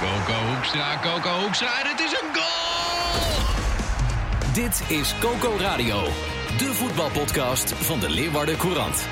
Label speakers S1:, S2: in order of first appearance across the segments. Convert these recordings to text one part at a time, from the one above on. S1: Coco Hoekstra, Coco Hoekstra en het is een goal!
S2: Dit is Coco Radio, de voetbalpodcast van de Leeuwarden Courant.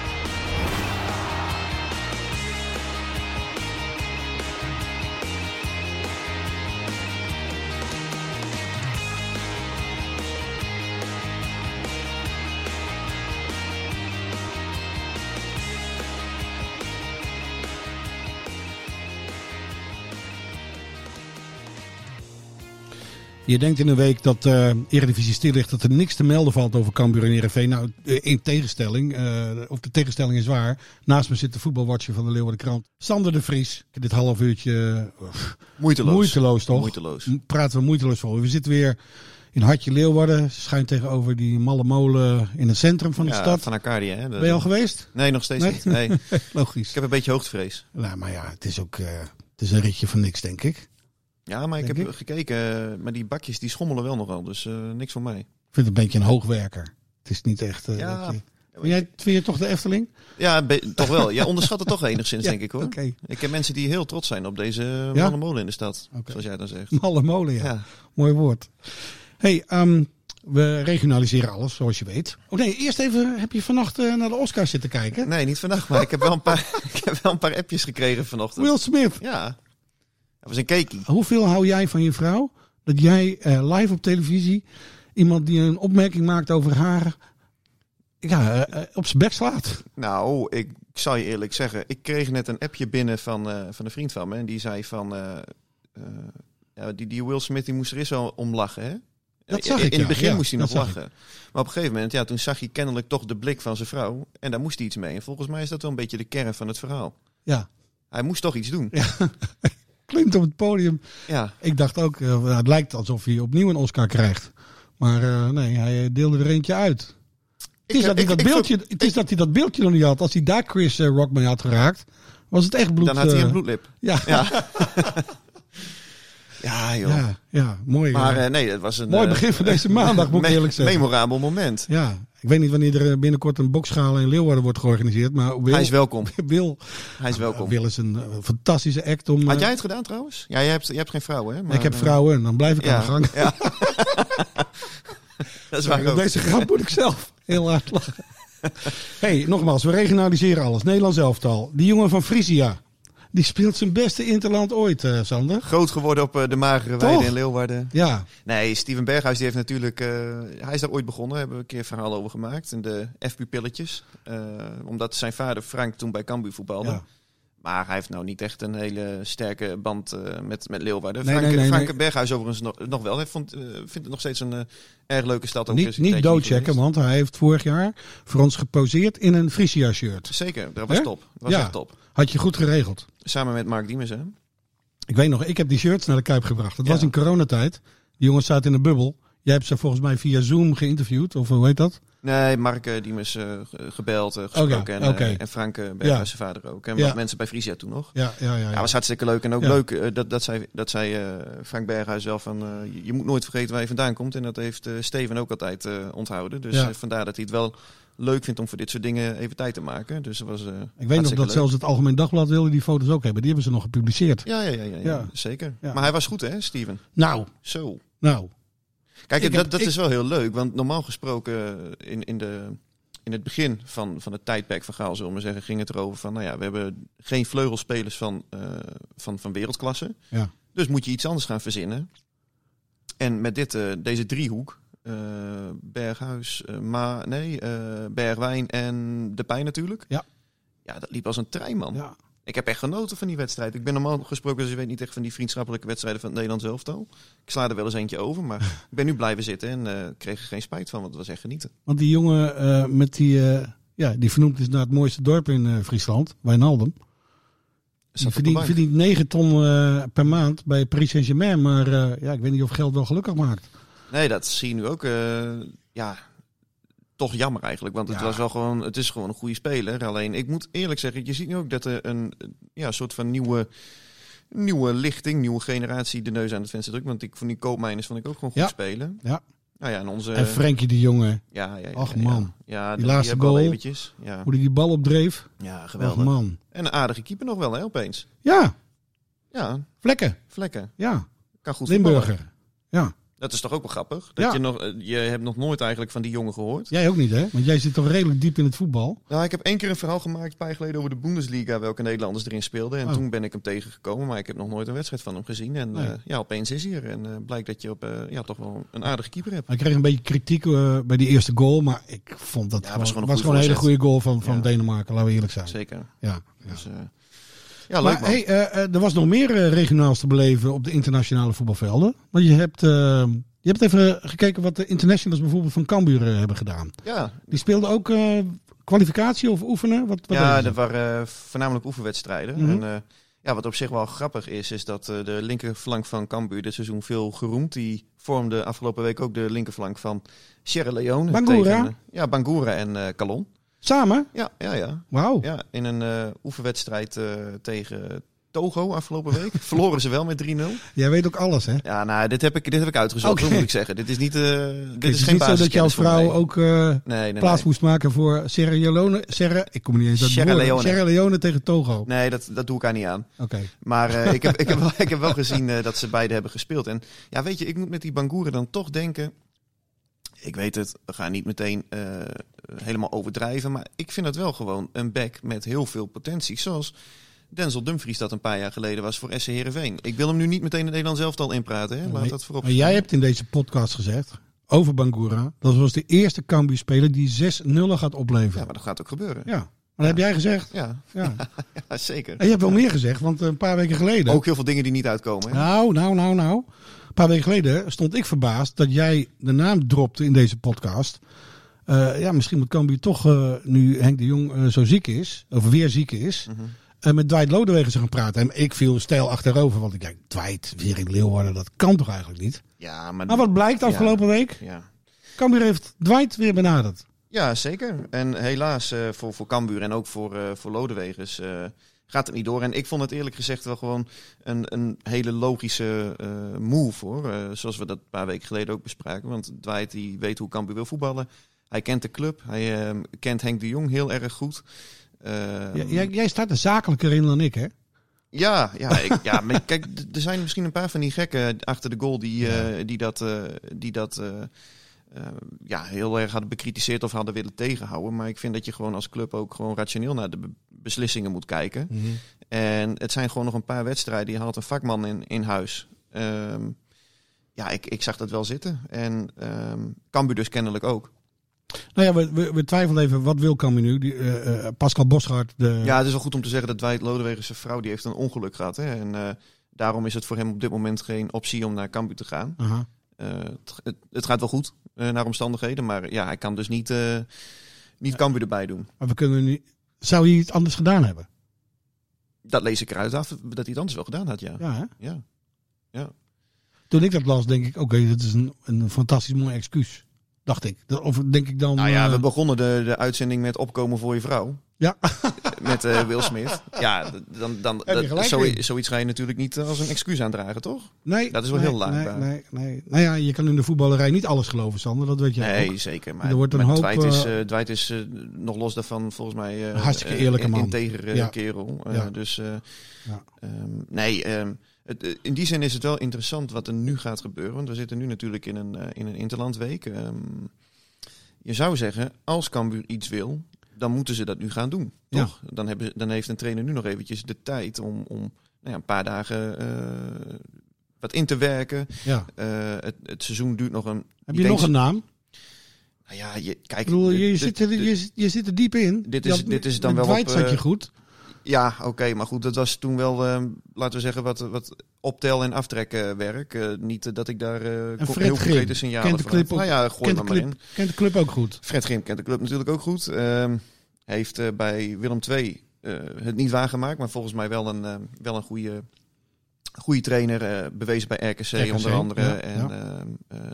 S3: Je denkt in een week dat eh Eredivisie stil ligt, dat er niks te melden valt over Cambuur en Heerenveen. Nou, eh, in tegenstelling, eh, of de tegenstelling is waar. Naast me zit de voetbalwatcher van de Leeuwarden Krant, Sander de Vries. Dit half uurtje eh,
S4: Moeiteloos.
S3: moeiteloos, toch?
S4: Moeiteloos.
S3: M- Praten we moeiteloos voor. We zitten weer in Hartje Leeuwarden, schuin tegenover die malle molen in het centrum van de
S4: Ja,
S3: stad.
S4: van Arcadia. Hè? Dat-
S3: Ben je al geweest?
S4: Nee, nog steeds
S3: Nee?
S4: niet. Nee. Ik
S3: Logisch.
S4: heb een beetje hoogtevrees.
S3: Nou, maar ja, het is ook eh, het is een ritje van niks, denk ik.
S4: Ja, maar ik
S3: Denk
S4: heb
S3: ik.
S4: gekeken, eh, maar die bakjes die schommelen wel nogal, dus eh, niks voor mij.
S3: Ik vind het een beetje een hoogwerker. Het is niet echt... eh,
S4: Ja.
S3: dat je- Maar jij vind je toch de Efteling?
S4: Ja, be- toch wel. Ja, onderschat het toch enigszins, denk ik hoor.
S3: Oké.
S4: Ik ken mensen die heel trots zijn op deze eh,
S3: Ja?
S4: malle molen in de stad,
S3: Oké.
S4: zoals jij dan zegt.
S3: Malle molen, ja.
S4: Ja.
S3: Mooi woord. hey, ehm, we regionaliseren alles, zoals je weet. Oh nee, eerst even, heb je vannacht eh, naar de Oscars zitten kijken?
S4: Nee, niet vandaag, maar ik heb wel een paar, ik heb wel een paar appjes gekregen vanochtend.
S3: Will Smith,
S4: Ja, dat was een keekie.
S3: hoeveel hou jij van je vrouw? Dat jij eh, live op televisie iemand die een opmerking maakt over haar ja, eh, eh, op zijn bek slaat.
S4: Nou, ik zal je eerlijk zeggen, ik kreeg net een appje binnen van, eh, van een vriend van me. En die zei van, eh, eh, ja, die, die Will Smith die moest er eens wel om lachen, hè?
S3: Dat zag
S4: in,
S3: ik,
S4: In het
S3: ja.
S4: begin
S3: Ja,
S4: moest hij
S3: dat
S4: nog
S3: zag ik.
S4: lachen. Maar op een gegeven moment, ja, toen zag hij kennelijk toch de blik van zijn vrouw. En daar moest hij iets mee. En volgens mij is dat wel een beetje de kern van het verhaal.
S3: Ja,
S4: Hij moest toch iets doen.
S3: Ja. klimt op het podium.
S4: Ja,
S3: Ik dacht ook, eh, nou, het lijkt alsof hij opnieuw een Oscar krijgt. Maar eh, nee, hij deelde er eentje uit. Het is,
S4: Ik- eh,
S3: dat, hij
S4: ik-
S3: dat
S4: ik-
S3: beeldje, het is dat hij dat beeldje nog niet had. Als hij daar Chris eh, Rock mee had geraakt, was het echt bloed.
S4: dan had hij een
S3: eh,
S4: bloedlip.
S3: Ja, ja,
S4: Ja. ja, joh.
S3: ja, mooi.
S4: Maar
S3: eh,
S4: eh, nee, het was een...
S3: mooi
S4: eh,
S3: begin van deze maandag, moet ik
S4: me-
S3: eerlijk zeggen.
S4: Memorabel moment.
S3: Ja, ik weet niet wanneer er eh, binnenkort een boksgala in Leeuwarden wordt georganiseerd. Maar Wil,
S4: Hij is welkom.
S3: Wil,
S4: Hij is welkom.
S3: Wil is een eh, fantastische act om...
S4: Had
S3: eh,
S4: jij het gedaan trouwens? Ja, jij hebt, jij hebt geen vrouw, hè? Maar,
S3: ik heb
S4: eh,
S3: vrouwen en dan blijf ik aan
S4: ja,
S3: de gang.
S4: Ja. dat is waar
S3: Op
S4: ook.
S3: deze grap moet ik zelf heel hard lachen. hey, nogmaals, we regionaliseren alles. Nederlands elftal. Die jongen van Frisia, die speelt zijn beste interland ooit, eh, Sander.
S4: Groot geworden op eh, de magere
S3: Toch?
S4: weide in Leeuwarden.
S3: Ja,
S4: Nee, Steven Berghuis die heeft natuurlijk... eh, hij is daar ooit begonnen, daar hebben we een keer een verhaal over gemaakt. In de F-pupilletjes. Eh, omdat zijn vader Frank toen bij Cambuur voetbalde.
S3: ja.
S4: Maar hij heeft nou niet echt een hele sterke band eh, met, met Leeuwarden.
S3: Nee,
S4: Frank,
S3: nee, nee,
S4: Frank
S3: nee.
S4: Berghuis overigens nog, nog wel. Hij vond, eh, vindt het nog steeds een eh, erg leuke stad. Ook is
S3: Niet,
S4: een
S3: niet
S4: tijdje
S3: doodchecken,
S4: geweest.
S3: want hij heeft vorig jaar voor ons geposeerd in een Frisia-shirt.
S4: Zeker, dat was
S3: Hè?
S4: top. Dat was
S3: Ja.
S4: echt top.
S3: Had je goed geregeld.
S4: Samen met Mark Diemers, hè?
S3: Ik weet nog, ik heb die shirts naar de Kuip gebracht. Dat
S4: Ja.
S3: was in coronatijd. Die jongens zaten in een bubbel. Jij hebt ze volgens mij via Zoom geïnterviewd, of hoe heet dat?
S4: Nee, Mark eh, Diemers eh, ge- gebeld, eh, gesproken.
S3: Oké,
S4: en, eh,
S3: oké.
S4: en Frank eh, Berghuis,
S3: Ja.
S4: zijn vader ook. En
S3: Ja.
S4: wat mensen bij Frisia toen nog.
S3: Ja, ja, ja.
S4: Ja,
S3: ja.
S4: was hartstikke leuk. En ook
S3: Ja.
S4: leuk eh, dat, dat zij, dat zij eh, Frank Berghuis wel van... eh, je- je moet nooit vergeten waar je vandaan komt. En dat heeft eh, Steven ook altijd eh, onthouden. Dus
S3: Ja.
S4: eh, vandaar dat hij het wel leuk vindt om voor dit soort dingen even tijd te maken. Dus dat was eh,
S3: ik weet nog
S4: hartstikke
S3: dat
S4: leuk.
S3: zelfs het Algemeen Dagblad wilde die foto's ook hebben. Die hebben ze nog gepubliceerd.
S4: Ja, ja, ja, ja, ja,
S3: Ja.
S4: zeker.
S3: Ja.
S4: Maar hij was goed, hè, Steven?
S3: Nou,
S4: Zo.
S3: nou.
S4: Kijk,
S3: Ik
S4: dat,
S3: heb-
S4: dat
S3: ik-
S4: is wel heel leuk. Want normaal gesproken eh, in, in, de, in het begin van, van het tijdperk van Gaal, zullen we maar zeggen, ging het erover van, nou ja, we hebben geen vleugelspelers van, eh, van, van wereldklasse.
S3: Ja.
S4: Dus moet je iets anders gaan verzinnen. En met dit, eh, deze driehoek, eh, Berghuis, eh, Ma, nee, eh, Bergwijn en De Pijn natuurlijk.
S3: Ja.
S4: Ja, dat liep als een trein, man.
S3: Ja.
S4: Ik heb echt genoten van die wedstrijd. Ik ben normaal gesproken, dus je weet niet echt van die vriendschappelijke wedstrijden van het Nederlands elftal. Ik sla er wel eens eentje over, maar ik ben nu blijven zitten en eh, kreeg er geen spijt van, want het was echt genieten.
S3: Want die jongen eh, met die, eh, ja, die vernoemd is naar het mooiste dorp in eh, Friesland, Wijnaldum.
S4: zat op de
S3: verdient,
S4: bank.
S3: verdient 9 ton eh, per maand bij Paris Saint-Germain. Maar eh, ja, ik weet niet of geld wel gelukkig maakt.
S4: Nee, dat zie je nu ook. eh, ja, toch jammer eigenlijk. Want het,
S3: Ja.
S4: was wel gewoon, het is gewoon een goede speler. Alleen, ik moet eerlijk zeggen, je ziet nu ook dat er een eh, ja, soort van nieuwe, nieuwe lichting, nieuwe generatie de neus aan het venster drukt. Want ik vond die koopmijners vond ik ook gewoon goed
S3: Ja.
S4: spelen.
S3: Ja.
S4: Nou ja, en onze...
S3: en Frenkie de Jonge,
S4: ja, ja, ja,
S3: Ach,
S4: ja.
S3: man.
S4: Ja,
S3: Die laatste
S4: hebben we al
S3: goal.
S4: Eventjes. Ja.
S3: hoe die die bal opdreef.
S4: ja,
S3: Ach,
S4: geweldig.
S3: man.
S4: En een aardige keeper nog wel, hè, opeens.
S3: Ja,
S4: Ja,
S3: vlekken.
S4: vlekken.
S3: Ja,
S4: Kan goed voetballen.
S3: Limburger. Ja,
S4: Dat is toch ook wel grappig? Dat
S3: Ja.
S4: je, nog, eh, je hebt nog nooit eigenlijk van die jongen gehoord.
S3: jij ook niet hè? Want jij zit toch redelijk diep in het voetbal.
S4: Nou, ik heb één keer een verhaal gemaakt, een paar jaar geleden, over de Bundesliga, welke Nederlanders erin speelden. En
S3: Oh.
S4: toen ben ik hem tegengekomen, maar ik heb nog nooit een wedstrijd van hem gezien. En
S3: Nee.
S4: eh, ja, opeens is hij er. En eh, blijkt dat je op, eh, ja, toch wel een aardige keeper hebt.
S3: Hij kreeg een beetje kritiek eh, bij die eerste goal. Maar ik vond dat
S4: Ja,
S3: gewoon, was gewoon een,
S4: goede
S3: hele
S4: voorzet.
S3: goede goal van, van
S4: Ja.
S3: Denemarken. Laten we eerlijk zijn.
S4: Zeker.
S3: Ja, ja.
S4: Dus, eh, ja, leuk
S3: Maar
S4: man.
S3: hey, eh, eh, er was nog meer eh, regionaals te beleven op de internationale voetbalvelden. Want je hebt, eh, je hebt even gekeken wat de internationals bijvoorbeeld van Cambuur eh, hebben gedaan.
S4: Ja,
S3: Die speelden ook eh, kwalificatie of oefenen? Wat, wat
S4: ja
S3: deden ze?
S4: dat waren eh, voornamelijk oefenwedstrijden.
S3: Mhm.
S4: En eh, ja, wat op zich wel grappig is, is dat eh, de linkerflank van Cambuur dit seizoen veel geroemd. Die vormde afgelopen week ook de linkerflank van Sierra Leone.
S3: Bangura?
S4: tegen, eh, ja, Bangura en eh Calon.
S3: Samen?
S4: Ja, ja, ja.
S3: Wauw.
S4: Ja, in een eh, oefenwedstrijd eh, tegen Togo afgelopen week. Verloren ze wel met 3-0.
S3: Jij weet ook alles, hè?
S4: Ja, nou, dit heb ik, dit heb ik uitgezocht,
S3: Oké.
S4: dat moet ik zeggen. Dit is niet, eh, dit
S3: Het
S4: is,
S3: is
S4: geen
S3: niet zo dat jouw
S4: basiskennis voor
S3: vrouw
S4: mij.
S3: ook eh,
S4: Nee, nee,
S3: plaats
S4: nee.
S3: moest maken voor Sierra Leone. Sierra, ik kom er niet eens uit de
S4: Sierra
S3: woorden.
S4: Leone.
S3: Sierra Leone tegen Togo.
S4: Nee, dat, dat doe ik haar niet aan.
S3: Oké.
S4: Maar eh, ik, heb, ik, heb wel, ik heb wel gezien eh, dat ze beide hebben gespeeld. En ja, weet je, ik moet met die Bangoeren dan toch denken... Ik weet het, we gaan niet meteen eh, helemaal overdrijven. Maar ik vind het wel gewoon een back met heel veel potentie. Zoals Denzel Dumfries dat een paar jaar geleden was voor SC Heerenveen. Ik wil hem nu niet meteen het Nederlands elftal inpraten. Hè? Laat dat voorop.
S3: Maar jij hebt in deze podcast gezegd over Bangura. Dat was de eerste Cambuur-speler die 6-0 gaat
S4: Ja,
S3: opleveren.
S4: maar dat gaat ook gebeuren.
S3: Ja. Maar dat heb jij gezegd.
S4: Ja,
S3: Ja.
S4: ja, zeker.
S3: En je hebt wel meer gezegd, want eh, een paar weken geleden.
S4: Ook heel veel dingen die niet uitkomen. Hè?
S3: Nou, nou, nou, nou. Een paar weken geleden stond ik verbaasd dat jij de naam dropte in deze podcast. Eh, ja, misschien moet Cambuur toch, eh, nu Henk de Jong eh, zo ziek is, of weer ziek is,
S4: Mhm.
S3: eh, met Dwight Lodewegen ze gaan praten. En ik viel stijl achterover, want ik denk, Dwight, weer in Leeuwarden, dat kan toch eigenlijk niet?
S4: Mhm. Ja, maar...
S3: Maar wat blijkt afgelopen week?
S4: Ja.
S3: Cambuur heeft Dwight weer benaderd.
S4: Ja, zeker. En helaas eh, voor, voor Cambuur en ook voor, eh voor Lodewegers eh, gaat het niet door. En ik vond het eerlijk gezegd wel gewoon een, een hele logische eh, move hoor. Eh, zoals we dat een paar weken geleden ook bespraken. Want Dwight die weet hoe Cambuur wil voetballen. Hij kent de club. Hij eh, kent Henk de Jong heel erg goed. Eh,
S3: J- jij, jij staat er zakelijker in dan ik, hè?
S4: ja, ja, ik, ja maar kijk, d- er zijn misschien een paar van die gekken achter de goal die, eh, die dat, eh, die dat eh, eh, ja, heel erg hadden bekritiseerd of hadden willen tegenhouden. Maar ik vind dat je gewoon als club ook gewoon rationeel naar de be- beslissingen moet kijken. En het zijn gewoon nog een paar wedstrijden. Je haalt een vakman in, in huis. Ehm, ja, ik, ik zag dat wel zitten. En ehm Cambuur dus kennelijk ook.
S3: Nou ja, we, we, we twijfelen even, wat wil Cambuur nu? Die, eh, eh, Pascal Boschart, de...
S4: Ja, het is wel goed om te zeggen dat Dwight Lodewegen zijn vrouw, die heeft een ongeluk gehad. Hè? En eh, daarom is het voor hem op dit moment geen optie om naar Cambuur te gaan.
S3: Aha.
S4: Eh, het, het, het gaat wel goed eh, naar omstandigheden, maar ja, hij kan dus niet, eh niet Cambuur erbij doen.
S3: Maar we kunnen niet... Zou je iets anders gedaan hebben?
S4: Dat lees ik eruit af dat hij het anders wel gedaan had, ja. ja.
S3: Ja, hè? Toen ik dat las, denk ik, oké, dat is een, een fantastisch mooi excuus. Dacht ik. Dat- Of denk ik dan...
S4: Nou ja,
S3: eh,
S4: we begonnen de, de uitzending met opkomen voor je vrouw.
S3: Ja.
S4: Met eh, Will Smith. Ja, d- dan, dan,
S3: je
S4: dat-
S3: gelijk
S4: zo,
S3: in.
S4: zoiets ga je natuurlijk niet eh, als een excuus aandragen, toch?
S3: nee,
S4: dat is wel
S3: nee,
S4: heel
S3: nee,
S4: laakbaar.
S3: nee, nee. Nou ja, je kan in de voetballerij niet alles geloven, Sander. Dat weet jij
S4: nee,
S3: ook.
S4: zeker. Maar,
S3: Er wordt een
S4: maar
S3: hoop,
S4: Dwight is,
S3: eh,
S4: eh, Dwight is eh, nog los daarvan volgens mij... eh,
S3: Een hartstikke
S4: eh,
S3: eerlijke
S4: een
S3: man.
S4: Integere
S3: Ja.
S4: kerel. Eh,
S3: Ja.
S4: Dus eh,
S3: Ja.
S4: ehm, nee, ehm, het, eh, in die zin is het wel interessant wat er nu gaat gebeuren. Want we zitten nu natuurlijk in een, eh, in een interlandweek. Ehm, je zou zeggen, als Cambuur iets wil, dan moeten ze dat nu gaan doen.
S3: Ja.
S4: Toch? Dan, hebben, ze- dan heeft een trainer nu nog eventjes de tijd om, om nou ja, een paar dagen... eh, wat in te werken.
S3: Ja.
S4: Eh, het, het seizoen duurt nog een.
S3: Heb
S4: ik
S3: je
S4: denk
S3: nog een naam? Ik
S4: nou ja, je, kijk,
S3: bedoel, je,
S4: dit-
S3: zit, er,
S4: dit-
S3: je, zit- je zit er diep in.
S4: dit is-
S3: Ja,
S4: dit is dan
S3: met
S4: wel
S3: Dwight
S4: op,
S3: zat je
S4: eh,
S3: goed.
S4: Ja, oké, maar goed, dat was toen wel, eh, laten we zeggen, wat, wat optel- en aftrekwerk. Eh niet eh, dat ik daar eh, co-
S3: Fred
S4: heel
S3: Grim
S4: concrete signalen
S3: kent de
S4: van
S3: club
S4: had. Nou
S3: ook-
S4: ja, gooi
S3: Kent de,
S4: maar maar in.
S3: club, kent de club ook goed.
S4: Fred Grim kent de club natuurlijk ook goed. Ehm, heeft eh, bij Willem II eh, het niet waargemaakt, maar volgens mij wel een, eh, wel een goede, goede trainer. eh, bewezen bij RKC,
S3: RKC,
S4: onder andere.
S3: ja,
S4: en
S3: ja.
S4: eh, eh,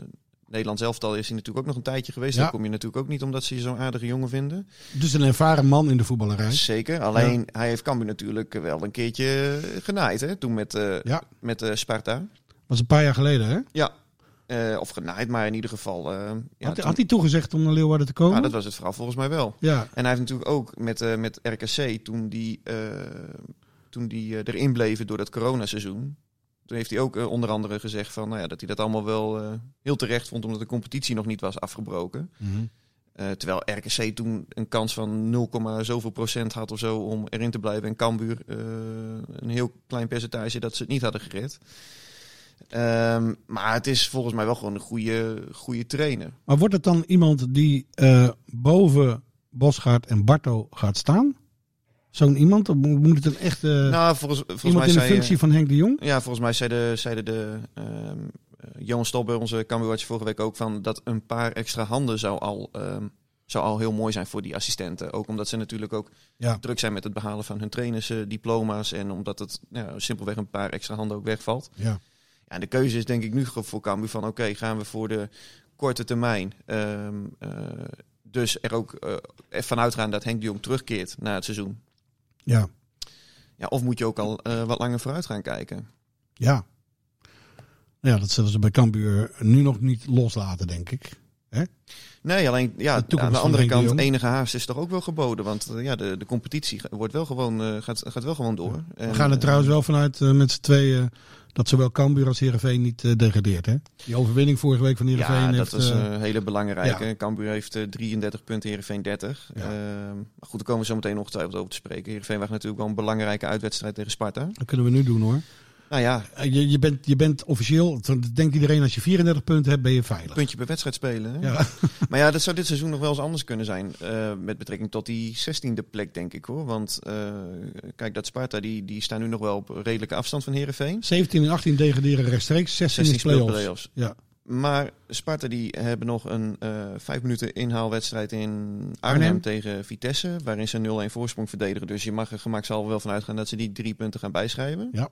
S4: Nederlands elftal is hij natuurlijk ook nog een tijdje geweest.
S3: Ja.
S4: Daar kom je natuurlijk ook niet omdat ze je zo'n aardige jongen vinden.
S3: Dus een ervaren man in de voetballerij.
S4: Zeker. Alleen hij heeft Cambuur natuurlijk wel een keertje eh, genaaid. Hè? Toen met, eh,
S3: Ja,
S4: met eh, Sparta.
S3: was een paar jaar geleden hè?
S4: Ja. Eh, of genaaid, maar in ieder geval. eh, ja,
S3: had,
S4: toen-
S3: had hij toegezegd om naar Leeuwarden te komen?
S4: ja, dat was het verhaal volgens mij wel.
S3: Ja,
S4: En hij heeft natuurlijk ook met, eh, met RKC, toen die, eh, toen die eh, erin bleven door dat coronaseizoen. Toen heeft hij ook eh, onder andere gezegd van, nou ja, dat hij dat allemaal wel eh, heel terecht vond, omdat de competitie nog niet was afgebroken.
S3: Mhm.
S4: Eh, terwijl RKC toen een kans van 0, zoveel procent had of zo om erin te blijven. En Cambuur eh, een heel klein percentage dat ze het niet hadden gered. Ehm, maar het is volgens mij wel gewoon een goede, goede trainer.
S3: Maar wordt het dan iemand die eh, boven Bosgaard en Barto gaat staan? Zo'n iemand? Of mo- moet het een echte
S4: nou, volgens, volgens
S3: Eh, iemand
S4: mij
S3: in de
S4: zei, eh,
S3: functie van Henk de Jong?
S4: Ja, volgens mij zeiden, zeiden de ehm eh, Johan Stolber, onze Cambuurarts vorige week ook van dat een paar extra handen zou al, ehm, zou al heel mooi zijn voor die assistenten. Ook omdat ze natuurlijk ook
S3: Ja.
S4: druk zijn met het behalen van hun trainers, eh, diploma's en omdat het nou, simpelweg een paar extra handen ook wegvalt.
S3: Ja.
S4: Ja, en de keuze is denk ik nu ge- voor Cambuur van oké, gaan we voor de korte termijn. ehm, eh, dus er ook eh vanuit gaan dat Henk de Jong terugkeert na het seizoen.
S3: Ja.
S4: Ja, of moet je ook al eh, wat langer vooruit gaan kijken?
S3: Ja. Ja, dat zullen ze bij Cambuur nu nog niet loslaten, denk ik.
S4: Nee, alleen ja,
S3: De toekomst
S4: aan de
S3: van
S4: andere
S3: Henk de
S4: kant,
S3: Jong.
S4: enige haast is toch ook wel geboden. Want eh, ja, de, de competitie ga- wordt wel gewoon, eh, gaat, gaat wel gewoon door. En,
S3: We gaan er
S4: eh,
S3: trouwens wel vanuit eh, met z'n tweeën dat zowel Cambuur als Heerenveen niet eh, degradeert. Hè? Die overwinning vorige week van Heerenveen
S4: Ja, dat
S3: heeft...
S4: was
S3: eh,
S4: een hele belangrijke. Cambuur heeft eh, 33 punten, Heerenveen 30.
S3: Ja.
S4: Ehm, maar goed, daar komen we zo meteen ongetwijfeld over te spreken. Heerenveen was natuurlijk wel een belangrijke uitwedstrijd tegen Sparta.
S3: dat kunnen we nu doen hoor.
S4: Nou ja,
S3: Eh, Je, je, bent, je bent officieel, dat denkt iedereen, als je 34 punten hebt ben je veilig.
S4: puntje per wedstrijd spelen. hè?
S3: Ja.
S4: Maar ja, dat zou dit seizoen nog wel eens anders kunnen zijn. eh, met betrekking tot die 16e plek, denk ik hoor. Want eh, kijk, dat Sparta, die, die staan nu nog wel op redelijke afstand van Heerenveen.
S3: 17 en 18 degraderen rechtstreeks, 16,
S4: 16
S3: is play-offs.
S4: speelt play-offs.
S3: Ja.
S4: Maar Sparta die hebben nog een eh vijf minuten inhaalwedstrijd in Arnhem,
S3: Arnhem.
S4: tegen Vitesse. Waarin ze 0-1 voorsprong verdedigen. Dus je mag er gemakshalve wel van uitgaan dat ze die drie punten gaan bijschrijven.
S3: Ja.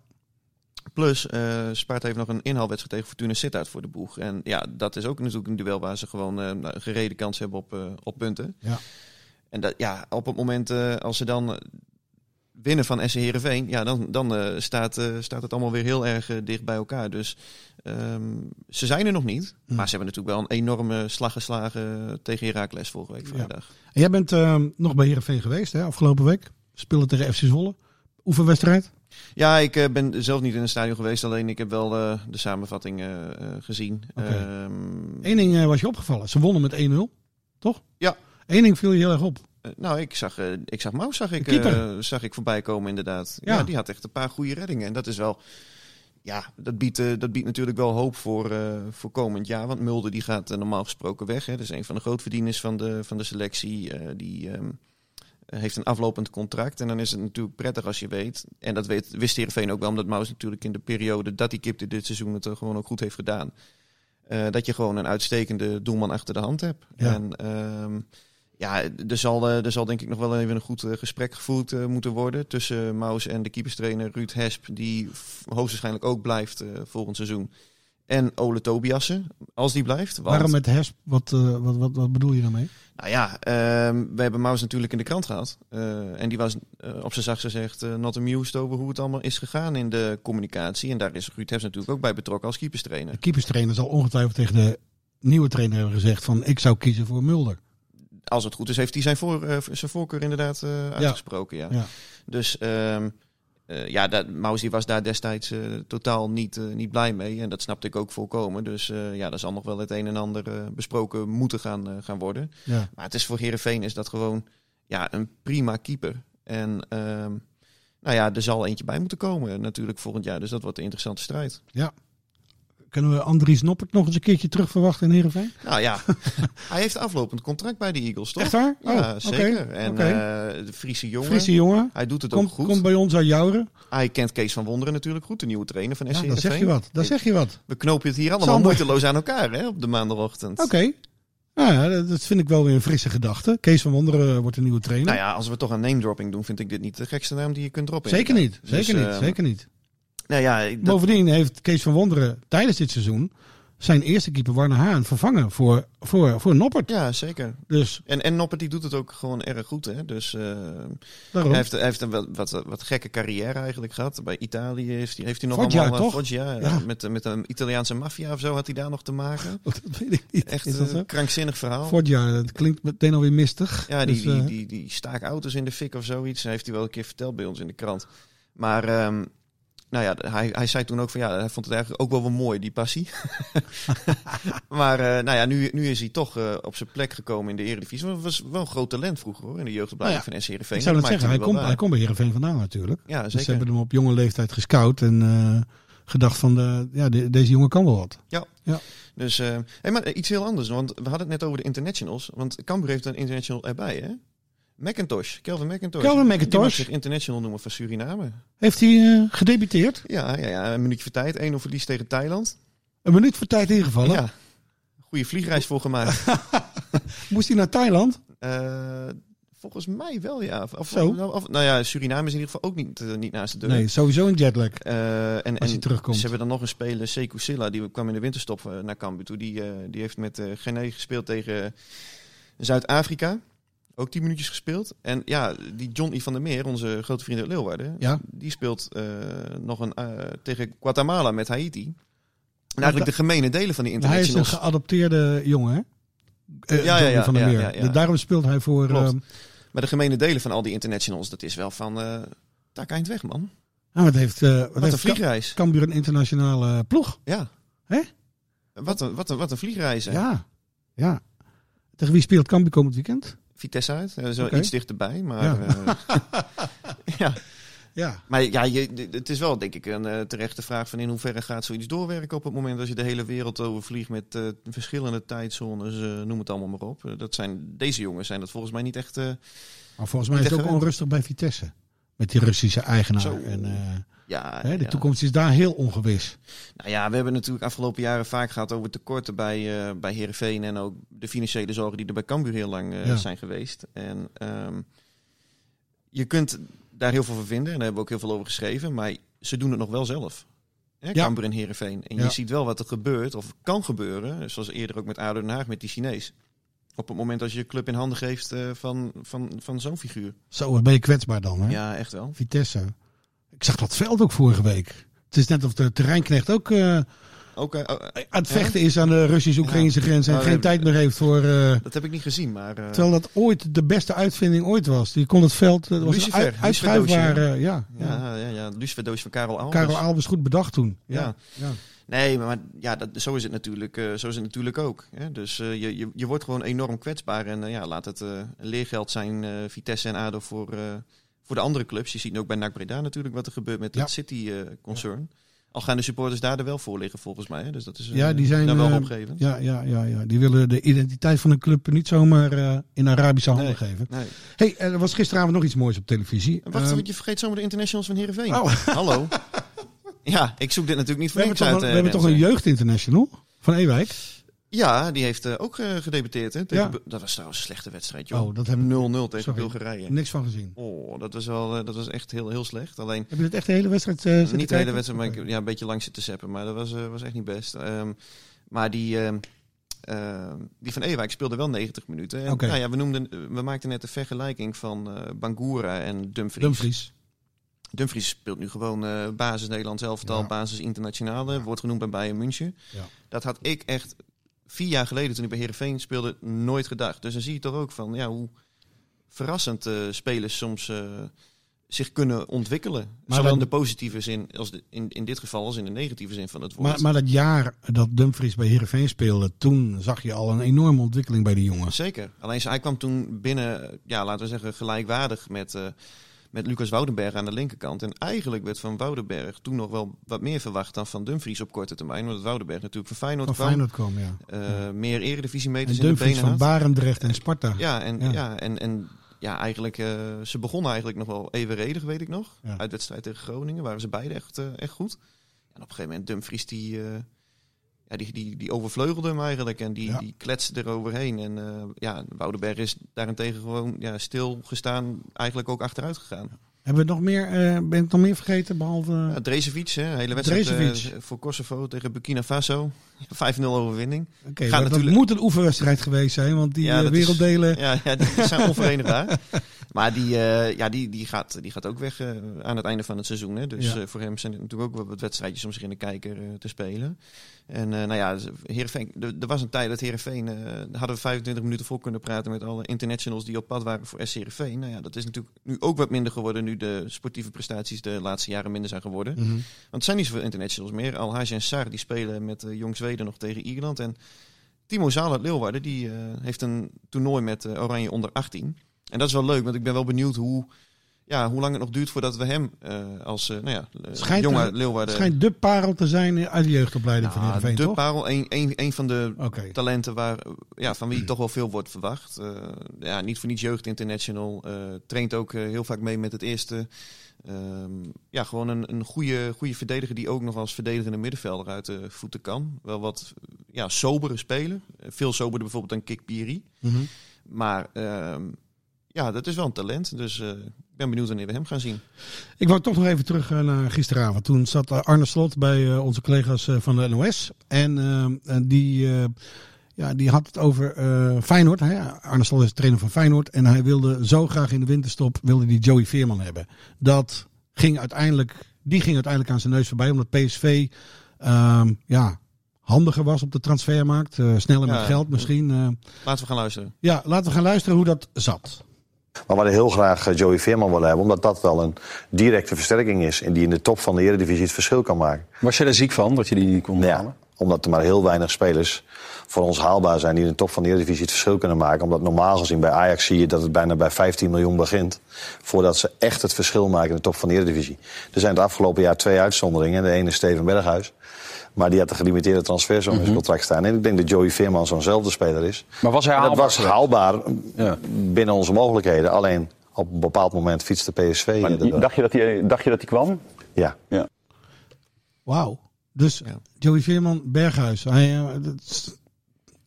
S4: Plus eh, Sparta heeft nog een inhaalwedstrijd tegen Fortuna Sittard voor de boeg. En ja, dat is ook natuurlijk een duel waar ze gewoon eh, nou, een gereden kans hebben op, eh, op punten.
S3: Ja.
S4: En dat, ja, op het moment eh, als ze dan eh, winnen van SC Heerenveen... Ja, dan, dan eh, staat, eh, staat het allemaal weer heel erg eh, dicht bij elkaar. Dus ehm, ze zijn er nog niet.
S3: Hmm.
S4: Maar ze hebben natuurlijk wel een enorme slag geslagen tegen Heracles vorige week
S3: Ja.
S4: vrijdag.
S3: En jij bent eh, nog bij Heerenveen geweest hè, afgelopen week. Spelen tegen FC Zwolle. Oefenwedstrijd.
S4: Ja, ik eh, ben zelf niet in het stadion geweest. Alleen ik heb wel eh, de samenvatting eh, eh, gezien.
S3: Oké.
S4: Ehm,
S3: Eén ding eh, was je opgevallen. Ze wonnen met 1-0, toch?
S4: Ja.
S3: Eén ding viel je heel erg op.
S4: eh, nou, ik zag, eh ik zag Maus zag ik,
S3: De keeper.
S4: eh, zag ik voorbij komen inderdaad.
S3: Ja.
S4: Ja. die had echt een paar goede reddingen. En dat is wel... Ja, dat biedt, eh, dat biedt natuurlijk wel hoop voor, eh, voor komend jaar. Want Mulder die gaat eh, normaal gesproken weg. Hè. Dat is een van de grootverdieners van de, van de selectie. Eh, die ehm, heeft een aflopend contract. En dan is het natuurlijk prettig als je weet. En dat weet, wist Heerenveen ook wel. Omdat Maus natuurlijk in de periode dat hij kipte dit seizoen het eh, gewoon ook goed heeft gedaan. Eh, dat je gewoon een uitstekende doelman achter de hand hebt.
S3: Ja.
S4: En ehm, ja, er zal, eh, er zal denk ik nog wel even een goed eh, gesprek gevoerd eh, moeten worden tussen Maus en de keeperstrainer Ruud Hesp, die f- hoogstwaarschijnlijk ook blijft eh, volgend seizoen. En Ole Tobiassen, als die blijft. Want,
S3: Waarom met Hesp? Wat, eh, wat, wat, wat bedoel je daarmee?
S4: Nou ja, ehm, we hebben Maus natuurlijk in de krant gehad. Eh, en die was eh, op zijn zachtst gezegd eh, not amused over hoe het allemaal is gegaan in de communicatie. En daar is Ruud Hesp natuurlijk ook bij betrokken als keeperstrainer.
S3: De keeperstrainer zal ongetwijfeld tegen de nieuwe trainer hebben gezegd van ik zou kiezen voor Mulder.
S4: als het goed is, heeft hij zijn, voor, eh, zijn voorkeur inderdaad eh, uitgesproken. Ja.
S3: Ja.
S4: Dus ehm eh, ja, dat, Maus die was daar destijds eh, totaal niet, eh, niet blij mee. En dat snapte ik ook volkomen. Dus eh, ja, daar zal nog wel het een en ander eh, besproken moeten gaan, eh, gaan worden.
S3: Ja.
S4: Maar het is voor Herenveen is dat gewoon ja, een prima keeper. En ehm, nou ja, er zal eentje bij moeten komen natuurlijk volgend jaar. Dus dat wordt een interessante strijd.
S3: Kunnen we Andries Noppert nog eens een keertje terug verwachten in Heerenveen?
S4: Nou ja, hij heeft aflopend contract bij de Eagles, toch?
S3: Echt waar? Oh,
S4: Ja,
S3: oké.
S4: zeker. En
S3: oké.
S4: eh, de Friese jongen.
S3: Frisse jongen.
S4: Hij doet het
S3: Komt
S4: ook goed.
S3: komt bij ons uit Jouren.
S4: Hij kent Kees van Wonderen natuurlijk goed, de nieuwe trainer van SC
S3: Ja, dan zeg je
S4: Heerenveen.
S3: wat. Dan zeg je wat.
S4: We knopen het hier allemaal
S3: Sander.
S4: moeiteloos aan elkaar hè, op de maandagochtend.
S3: Oké. Nou ja, dat- dat vind ik wel weer een frisse gedachte. Kees van Wonderen eh, wordt een nieuwe trainer.
S4: Nou ja, als we toch aan name dropping doen, vind ik dit niet de gekste naam die je kunt droppen.
S3: zeker niet,
S4: inderdaad.
S3: zeker
S4: Dus,
S3: niet,
S4: eh,
S3: zeker niet.
S4: Nou ja, ik- dat-
S3: Bovendien heeft Kees van Wonderen tijdens dit seizoen zijn eerste keeper Warner Haan vervangen voor, voor, voor Noppert.
S4: ja, zeker.
S3: Dus
S4: En, en Noppert die doet het ook gewoon erg goed. Hè? Dus eh,
S3: daarom.
S4: hij heeft, hij heeft een wat, wat, wat gekke carrière eigenlijk gehad. Bij Italië heeft hij, heeft hij nog
S3: Foggia,
S4: allemaal... eh,
S3: toch?
S4: Foggia,
S3: Ja.
S4: Met, met een Italiaanse maffia of zo had hij daar nog te maken.
S3: dat weet ik niet.
S4: Echt eh,
S3: Is dat zo?
S4: een krankzinnig verhaal.
S3: Vorig jaar, dat klinkt meteen alweer mistig.
S4: Ja, die,
S3: Dus,
S4: die,
S3: eh,
S4: die, die staak auto's in de fik of zoiets. Dat heeft hij wel een keer verteld bij ons in de krant. Maar ehm, nou ja, hij, hij zei toen ook van ja, hij vond het eigenlijk ook wel wel mooi, die passie. maar eh, nou ja, nu, nu is hij toch eh, op zijn plek gekomen in de Eredivisie. Want hij was wel een groot talent vroeger hoor, in de jeugdopleiding
S3: Nou
S4: van E SCRV.
S3: ik zou dat zeggen, hij komt, hij komt bij Heerenveen vandaan natuurlijk.
S4: Ja,
S3: Dus ze
S4: zeker.
S3: hebben hem op jonge leeftijd gescout en eh, gedacht van, de, ja, de- deze jongen kan wel wat.
S4: Dus, eh, hey, maar iets heel anders, want we hadden het net over de internationals. Want Cambuur heeft een international erbij, hè? McIntosh, Kelvin McIntosh.
S3: Kelvin
S4: Die mag
S3: McIntosh
S4: zich international noemen van Suriname.
S3: heeft hij eh, gedebuteerd.
S4: Ja, ja, ja, een minuutje voor tijd. 1-0 verlies tegen Thailand.
S3: Een minuut voor tijd ingevallen.
S4: Ja. Goede vliegreis voor gemaakt.
S3: Moest hij naar Thailand?
S4: Eh, volgens mij wel, ja. Of,
S3: Zo.
S4: of- of- nou ja, Suriname is in ieder geval ook niet, eh, niet naast de deur.
S3: Nee, sowieso een jetlag.
S4: Eh, en,
S3: Als hij
S4: en
S3: terugkomt.
S4: Ze hebben dan nog een speler, Sekou Silla, die kwam in de winterstop eh, naar Cambuur toe. Die, eh, die heeft met eh Gené gespeeld tegen Zuid-Afrika. Ook 10 minuutjes gespeeld. En ja, die Johnny van der Meer, onze grote vriend uit Leeuwarden,
S3: Ja.
S4: die speelt eh, nog een, eh, tegen Guatemala met Haiti. En eigenlijk de gemene delen van die
S3: Hij is een
S4: internationals.
S3: geadopteerde jongen, hè? Eh,
S4: Ja, ja,
S3: Johnny
S4: ja,
S3: van der
S4: ja,
S3: Meer.
S4: ja, ja.
S3: Daarom speelt hij voor...
S4: Klopt.
S3: ehm,
S4: Maar de gemene delen van al die internationals, dat is wel van eh tak eind weg, man.
S3: nou, wat heeft, eh wat
S4: Wat een
S3: heeft Ka-
S4: vliegreis.
S3: Cambuur een internationale eh, ploeg?
S4: Ja.
S3: Hè?
S4: Wat een, wat een, wat een vliegreis. hè.
S3: Ja. ja. Tegen wie speelt Cambuur komend weekend?
S4: Vitesse uit. Dat is wel
S3: Oké.
S4: iets dichterbij, maar...
S3: Ja.
S4: eh, ja.
S3: Ja.
S4: Maar ja, je, d- het is wel denk ik een eh, terechte vraag van in hoeverre gaat zoiets doorwerken op het moment dat je de hele wereld overvliegt met eh, verschillende tijdzones, eh, noem het allemaal maar op. Eh, Dat zijn, deze jongens zijn dat volgens mij niet echt... eh,
S3: Maar volgens mij is het ook
S4: Tegen-
S3: onrustig bij Vitesse. Met die Russische eigenaar.
S4: Zo.
S3: En, eh,
S4: ja,
S3: hè, de
S4: ja.
S3: toekomst is daar heel ongewis.
S4: Nou ja, we hebben natuurlijk afgelopen jaren vaak gehad over tekorten bij, eh bij Heerenveen... en ook de financiële zorgen die er bij Cambuur heel lang eh,
S3: Ja.
S4: zijn geweest. En ehm, je kunt daar heel veel van vinden en daar hebben we ook heel veel over geschreven... maar ze doen het nog wel zelf. Hè,
S3: Ja.
S4: Cambuur en Heerenveen. En
S3: Ja.
S4: je ziet wel wat er gebeurt of kan gebeuren... zoals eerder ook met ADO Den Haag, met die Chinees. Op het moment dat je je club in handen geeft eh, van, van, van zo'n figuur.
S3: Zo, wat ben je kwetsbaar dan, hè?
S4: Ja, echt wel.
S3: Vitesse. Ik zag dat veld ook vorige week. Het is net of de terreinknecht ook eh,
S4: Ook, eh, oh, eh,
S3: aan het vechten is aan de Russisch-Oekraïnse grens. En
S4: Nou,
S3: geen
S4: nee,
S3: tijd meer heeft voor... eh,
S4: dat heb ik niet gezien, maar... eh,
S3: terwijl dat ooit de beste uitvinding ooit was. Die kon het veld... eh, Dat was
S4: Lucifer,
S3: een uit- uitschuifbaar... eh, ja, ja.
S4: ja, ja, ja. Luciferdoos van Karel Albers.
S3: Karel Albers goed bedacht toen. Ja.
S4: Ja. Nee, maar, maar ja, dat, zo, is het natuurlijk, eh, zo is het natuurlijk ook. Hè? Dus eh, je, je, je wordt gewoon enorm kwetsbaar. En eh, ja, laat het eh, een leergeld zijn, eh, Vitesse en ADO, voor, eh, voor de andere clubs. Je ziet ook bij NAC Breda natuurlijk wat er gebeurt met
S3: Ja.
S4: het City-concern. Al gaan de supporters daar er wel voor liggen, volgens mij. Hè? Dus dat is eh,
S3: Ja, die zijn,
S4: daar wel
S3: eh,
S4: opgeven.
S3: Ja, ja, ja, ja. Die willen de identiteit van een club niet zomaar eh, in Arabische handen
S4: Nee.
S3: geven.
S4: Nee.
S3: hey, eh, er was gisteravond nog iets moois op televisie.
S4: En Wacht,
S3: Ehm,
S4: want je vergeet zomaar de internationals van Heerenveen.
S3: Oh.
S4: Hallo. Ja, ik zoek dit natuurlijk niet
S3: we
S4: voor
S3: hebben
S4: niks
S3: toch,
S4: uit.
S3: een, we
S4: eh,
S3: hebben toch een
S4: mensen.
S3: jeugdinternational van Ewijk?
S4: Ja, die heeft eh, ook eh, gedebuteerd. Hè, tegen
S3: Ja.
S4: Bu- Dat was trouwens een slechte wedstrijd, joh.
S3: Oh, dat hebben we
S4: 0-0 tegen
S3: Sorry.
S4: Bulgarije.
S3: niks van gezien.
S4: Oh, dat was wel, eh, dat was echt heel, heel slecht. Alleen
S3: Heb je dat echt de hele wedstrijd eh, zitten
S4: niet de hele
S3: kijken?
S4: wedstrijd, maar ik heb ja, een beetje lang zitten zeppen, maar dat was, eh, was echt niet best. Ehm, maar die, ehm, ehm, die van Ewijk speelde wel 90 minuten. En,
S3: Oké.
S4: nou ja, we, noemden, eh, we maakten net de vergelijking van eh Bangura en Dumfries.
S3: Dumfries.
S4: Dumfries speelt nu gewoon eh, basis Nederlands elftal,
S3: Ja.
S4: basis internationale, wordt genoemd bij Bayern München.
S3: Ja.
S4: Dat had ik echt vier jaar geleden toen ik bij Heerenveen speelde nooit gedacht. Dus dan zie je toch ook van ja, hoe verrassend eh, spelers soms eh, zich kunnen ontwikkelen. Zowel
S3: dan-
S4: in de positieve zin als de, in, in dit geval als in de negatieve zin van het woord.
S3: Maar, maar dat jaar dat Dumfries bij Heerenveen speelde, toen zag je al een enorme ontwikkeling bij die jongens.
S4: Zeker. Alleen hij kwam toen binnen, eh, ja, laten we zeggen, gelijkwaardig met, eh, met Lucas Woudenberg aan de linkerkant. En eigenlijk werd van Woudenberg toen nog wel wat meer verwacht dan van Dumfries op korte termijn. Omdat Woudenberg natuurlijk van Feyenoord
S3: Van
S4: kwam.
S3: Feyenoord kwam, ja.
S4: eh, meer
S3: En
S4: eredivisiemeters in de
S3: Dumfries
S4: benen
S3: van
S4: had.
S3: Barendrecht en Sparta.
S4: Ja, en,
S3: Ja.
S4: ja. en, en ja, eigenlijk, eh, ze begonnen eigenlijk nog wel evenredig, weet ik nog.
S3: Ja.
S4: Uit wedstrijd tegen Groningen waren ze beide echt, eh, echt goed. En op een gegeven moment Dumfries, die, eh, ja, die, die, die overvleugelde hem eigenlijk en die,
S3: Ja.
S4: die kletste eroverheen. En eh, ja, Woudenberg is daarentegen gewoon ja, stilgestaan, eigenlijk ook achteruit gegaan.
S3: Hebben we nog meer, eh, ben ik nog meer vergeten? Behalve.
S4: Ja, Drezevic, hè, hele wedstrijd eh,
S3: Drezevic.
S4: voor Kosovo tegen Burkina Faso. 5-0 overwinning.
S3: Oké,
S4: gaat
S3: maar
S4: natuurlijk-
S3: dat moet een oefenwedstrijd geweest zijn, want die
S4: Ja,
S3: eh,
S4: dat is-
S3: werelddelen.
S4: Ja, ja die zijn onverenigbaar. Maar die, eh, ja, die, die, gaat, die gaat ook weg eh, aan het einde van het seizoen. Hè. Dus
S3: Ja.
S4: eh, voor hem zijn er natuurlijk ook wel wat wedstrijdjes om zich in de kijker eh, te spelen. En eh, nou ja, Heerenveen, er, er was een tijd dat Heerenveen... eh, hadden we 25 minuten vol kunnen praten met alle internationals die op pad waren voor SC Heerenveen. Nou ja, dat is natuurlijk nu ook wat minder geworden nu de sportieve prestaties de laatste jaren minder zijn geworden.
S3: Mhm.
S4: Want het zijn niet zoveel internationals meer. Al en Saar die spelen met eh, Jong Zweden nog tegen Ierland. En Timo Zaal uit Leeuwarden die, eh, heeft een toernooi met eh, Oranje onder 18. En dat is wel leuk, want ik ben wel benieuwd hoe, ja, hoe lang het nog duurt voordat we hem eh, als eh, nou ja, eh,
S3: Schijnt
S4: jonge
S3: er-
S4: Leeuwarden...
S3: Het schijnt de parel te zijn uit de jeugdopleiding van
S4: Nou,
S3: Heerenveen,
S4: de
S3: toch?
S4: parel, een, een, een van de
S3: Oké.
S4: talenten waar, eh, ja, van wie toch wel veel wordt verwacht. Eh, ja, niet voor niets jeugd international. eh, traint ook eh, heel vaak mee met het eerste. Ehm, ja, gewoon een, een goede, goede verdediger die ook nog als verdedigende middenvelder uit de voeten kan. Wel wat eh, ja, sobere speler. Eh, Veel soberder bijvoorbeeld dan Kik Piri.
S3: Mhm.
S4: Maar ehm, ja, dat is wel een talent. Dus eh, ik ben benieuwd wanneer we hem gaan zien.
S3: Ik wou toch nog even terug eh, naar gisteravond. Toen zat eh, Arne Slot bij eh, onze collega's eh, van de NOS. En eh, en die, eh, ja, die had het over eh, Feyenoord. Hè? Arne Slot is trainer van Feyenoord. En hij wilde zo graag in de winterstop wilde die Joey Veerman hebben. Dat ging uiteindelijk, die ging uiteindelijk aan zijn neus voorbij. Omdat PSV ehm, ja, handiger was op de transfermarkt. eh, sneller
S4: Ja.
S3: met geld misschien. eh.
S4: Laten we gaan luisteren.
S3: ja, laten we gaan luisteren hoe dat zat.
S5: Maar we hadden heel graag eh, Joey Veerman willen hebben, omdat dat wel een directe versterking is. En die in de top van de Eredivisie het verschil kan maken.
S6: Was je daar ziek van dat je die niet kon
S5: Ja,
S6: halen?
S5: omdat er maar heel weinig spelers voor ons haalbaar zijn die in de top van de Eredivisie het verschil kunnen maken. Omdat normaal gezien bij Ajax zie je dat het bijna bij 15 miljoen begint. Voordat ze echt het verschil maken in de top van de Eredivisie. Er zijn het afgelopen jaar twee uitzonderingen. De ene is Steven Berghuis. Maar die had een gelimiteerde transfersom in zijn contract staan. En ik denk dat Joey Veerman zo'nzelfde speler is.
S6: Mhm. Maar was hij
S5: En
S6: haalbaar?
S5: Dat was haalbaar
S6: Ja.
S5: binnen onze mogelijkheden. Alleen op een bepaald moment fietste PSV.
S6: Maar
S5: erdoor.
S6: dacht, je dat die, dacht je dat die kwam?
S5: Ja.
S3: Wauw. Dus
S4: Ja.
S3: Joey Veerman, Berghuis. Hij, eh, dat is-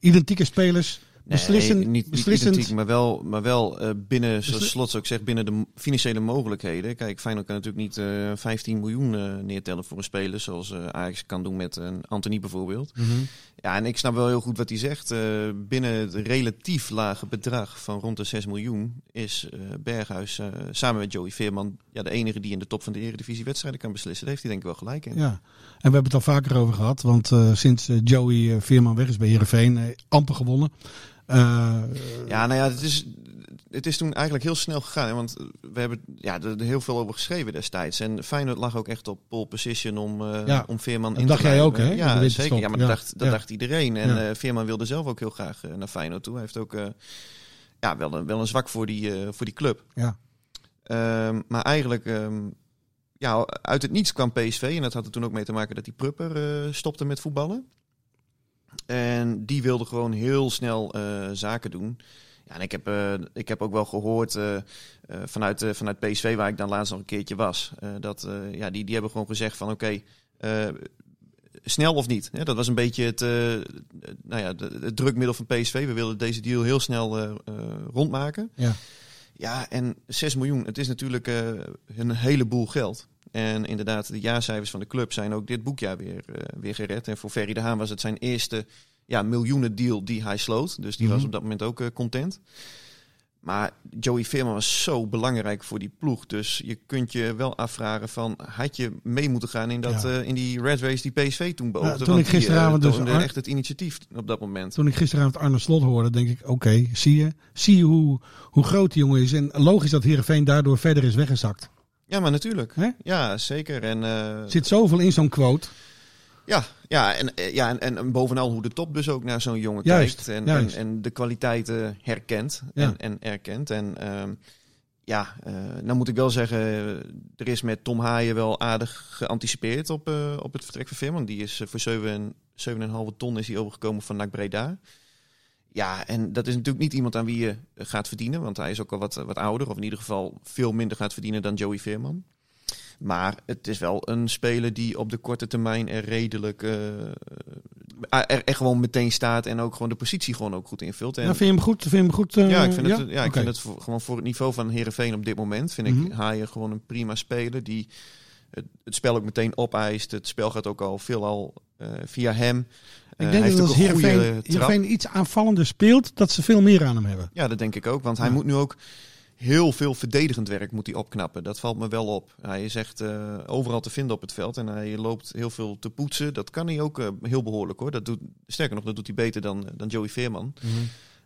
S3: identieke spelers. beslissen,
S4: niet, niet
S3: beslissend.
S4: identiek, maar wel, maar wel eh, binnen, zoals
S3: Besli-
S4: Slot ook zegt, binnen de m- financiële mogelijkheden. Kijk, Feyenoord kan natuurlijk niet eh, 15 miljoen eh, neertellen voor een speler, zoals eh, Ajax kan doen met een Anthony bijvoorbeeld.
S3: Mhm.
S4: Ja, en ik snap wel heel goed wat hij zegt. Eh, binnen het relatief lage bedrag van rond de 6 miljoen is eh, Berghuis eh, samen met Joey Veerman ja, de enige die in de top van de Eredivisie wedstrijden kan beslissen. Daar heeft hij denk ik wel gelijk in.
S3: Ja. En we hebben het al vaker over gehad. Want eh, sinds eh, Joey eh, Veerman weg is bij Heerenveen, eh, amper gewonnen. Eh,
S4: Ja, nou ja, het is, het is toen eigenlijk heel snel gegaan. hè, Want we hebben ja, er er heel veel over geschreven destijds. En Feyenoord lag ook echt op pole position om, eh,
S3: Ja,
S4: om Veerman
S3: dat
S4: in
S3: dacht
S4: te
S3: jij
S4: lijven.
S3: ook, hè, in de
S4: Ja,
S3: winterstop.
S4: zeker. Ja, maar
S3: Ja,
S4: dat, dacht, dat
S3: ja.
S4: dacht iedereen. En
S3: Ja.
S4: eh, Veerman wilde zelf ook heel graag eh, naar Feyenoord toe. Hij heeft ook eh, ja, wel, een, wel een zwak voor die, eh, voor die club.
S3: Ja.
S4: Ehm, maar eigenlijk... ehm, ja, uit het niets kwam PSV. En dat had er toen ook mee te maken dat die Prupper eh, stopte met voetballen. En die wilde gewoon heel snel eh, zaken doen. Ja, en ik heb, eh, ik heb ook wel gehoord eh, eh, vanuit, eh, vanuit PSV, waar ik dan laatst nog een keertje was, eh, dat eh, ja, die, die hebben gewoon gezegd van oké, eh, snel of niet. Hè, dat was een beetje het, eh, nou ja, de- het drukmiddel van PSV. We wilden deze deal heel snel eh, eh, rondmaken.
S3: Ja.
S4: ja, en 6 miljoen, het is natuurlijk eh, een heleboel geld. En inderdaad, de jaarcijfers van de club zijn ook dit boekjaar weer, eh, weer gered. En voor Ferry de Haan was het zijn eerste ja, miljoenen deal die hij sloot. Dus die
S3: Mhm.
S4: was op dat moment ook eh, content. Maar Joey Veerman was zo belangrijk voor die ploeg. Dus je kunt je wel afvragen van... had je mee moeten gaan in, dat,
S3: Ja.
S4: eh, in die red race die PSV toen beoogde?
S3: toen
S4: Want
S3: ik
S4: die, eh,
S3: gisteravond dus
S4: toonde
S3: Ar-
S4: echt het initiatief op dat moment.
S3: toen ik gisteravond Arne Slot hoorde, denk ik, oké, zie je. Zie je hoe, hoe groot die jongen is. En logisch dat Heerenveen daardoor verder is weggezakt.
S4: Ja, maar natuurlijk.
S3: Hè?
S4: Ja, zeker. En, eh,
S3: Er zit zoveel in zo'n quote.
S4: Ja, ja, en, eh, ja en, en, en bovenal hoe de top dus ook naar zo'n jongen
S3: Juist,
S4: kijkt. En,
S3: juist.
S4: En, en de kwaliteiten herkent
S3: Ja.
S4: en, en erkent. En ehm, ja, eh nou moet ik wel zeggen, er is met Tom Haaien wel aardig geanticipeerd op, eh, op het vertrek van Veerman. Die is eh, voor 7 en, 7,5 ton is hij overgekomen van NAC Breda. Ja, en dat is natuurlijk niet iemand aan wie je eh, gaat verdienen. Want hij is ook al wat, eh, wat ouder. Of in ieder geval veel minder gaat verdienen dan Joey Veerman. Maar het is wel een speler die op de korte termijn er redelijk eh, er, er gewoon meteen staat en ook gewoon de positie gewoon ook goed invult. En,
S3: Ja, vind je hem goed? Vind je hem goed eh,
S4: ja, ik vind het, ja?
S3: Oké.
S4: ik
S3: Mhm.
S4: vind het voor, gewoon voor het niveau van Herenveen op dit moment vind ik Haaien gewoon een prima speler die het, het spel ook meteen opeist. Het spel gaat ook al veelal eh via hem. Eh,
S3: Ik
S4: hij
S3: denk
S4: heeft
S3: dat
S4: ook
S3: als
S4: een goede,
S3: Heerenveen,
S4: eh, trap.
S3: Heerenveen iets aanvallender speelt, dat ze veel meer aan hem hebben.
S4: Ja, dat denk ik ook. Want hij moet nu ook heel veel verdedigend werk moet hij opknappen. Dat valt me wel op. Hij is echt eh, overal te vinden op het veld. En hij loopt heel veel te poetsen. Dat kan hij ook eh, heel behoorlijk hoor. Dat doet, sterker nog, dat doet hij beter dan, eh, dan Joey Veerman.
S3: Mhm.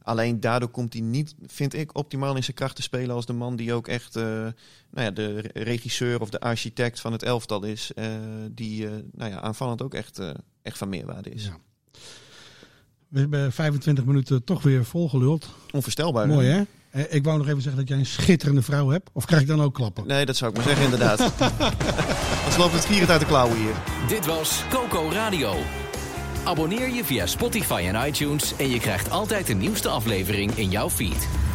S4: Alleen daardoor komt hij niet, vind ik, optimaal in zijn kracht te spelen als de man die ook echt eh, nou ja, de re- regisseur of de architect van het elftal is. eh, die eh, nou ja, aanvallend ook echt, eh, echt van meerwaarde is.
S3: Ja. We hebben 25 minuten toch weer volgeluld.
S4: Onvoorstelbaar. hè?
S3: Mooi hè? Eh, Ik wou nog even zeggen dat jij een schitterende vrouw hebt. Of krijg ik dan ook klappen?
S4: Nee, dat zou ik maar zeggen, inderdaad. Anders loopt het gierend uit de klauwen hier.
S2: Dit was Coco Radio. Abonneer je via Spotify en iTunes en je krijgt altijd de nieuwste aflevering in jouw feed.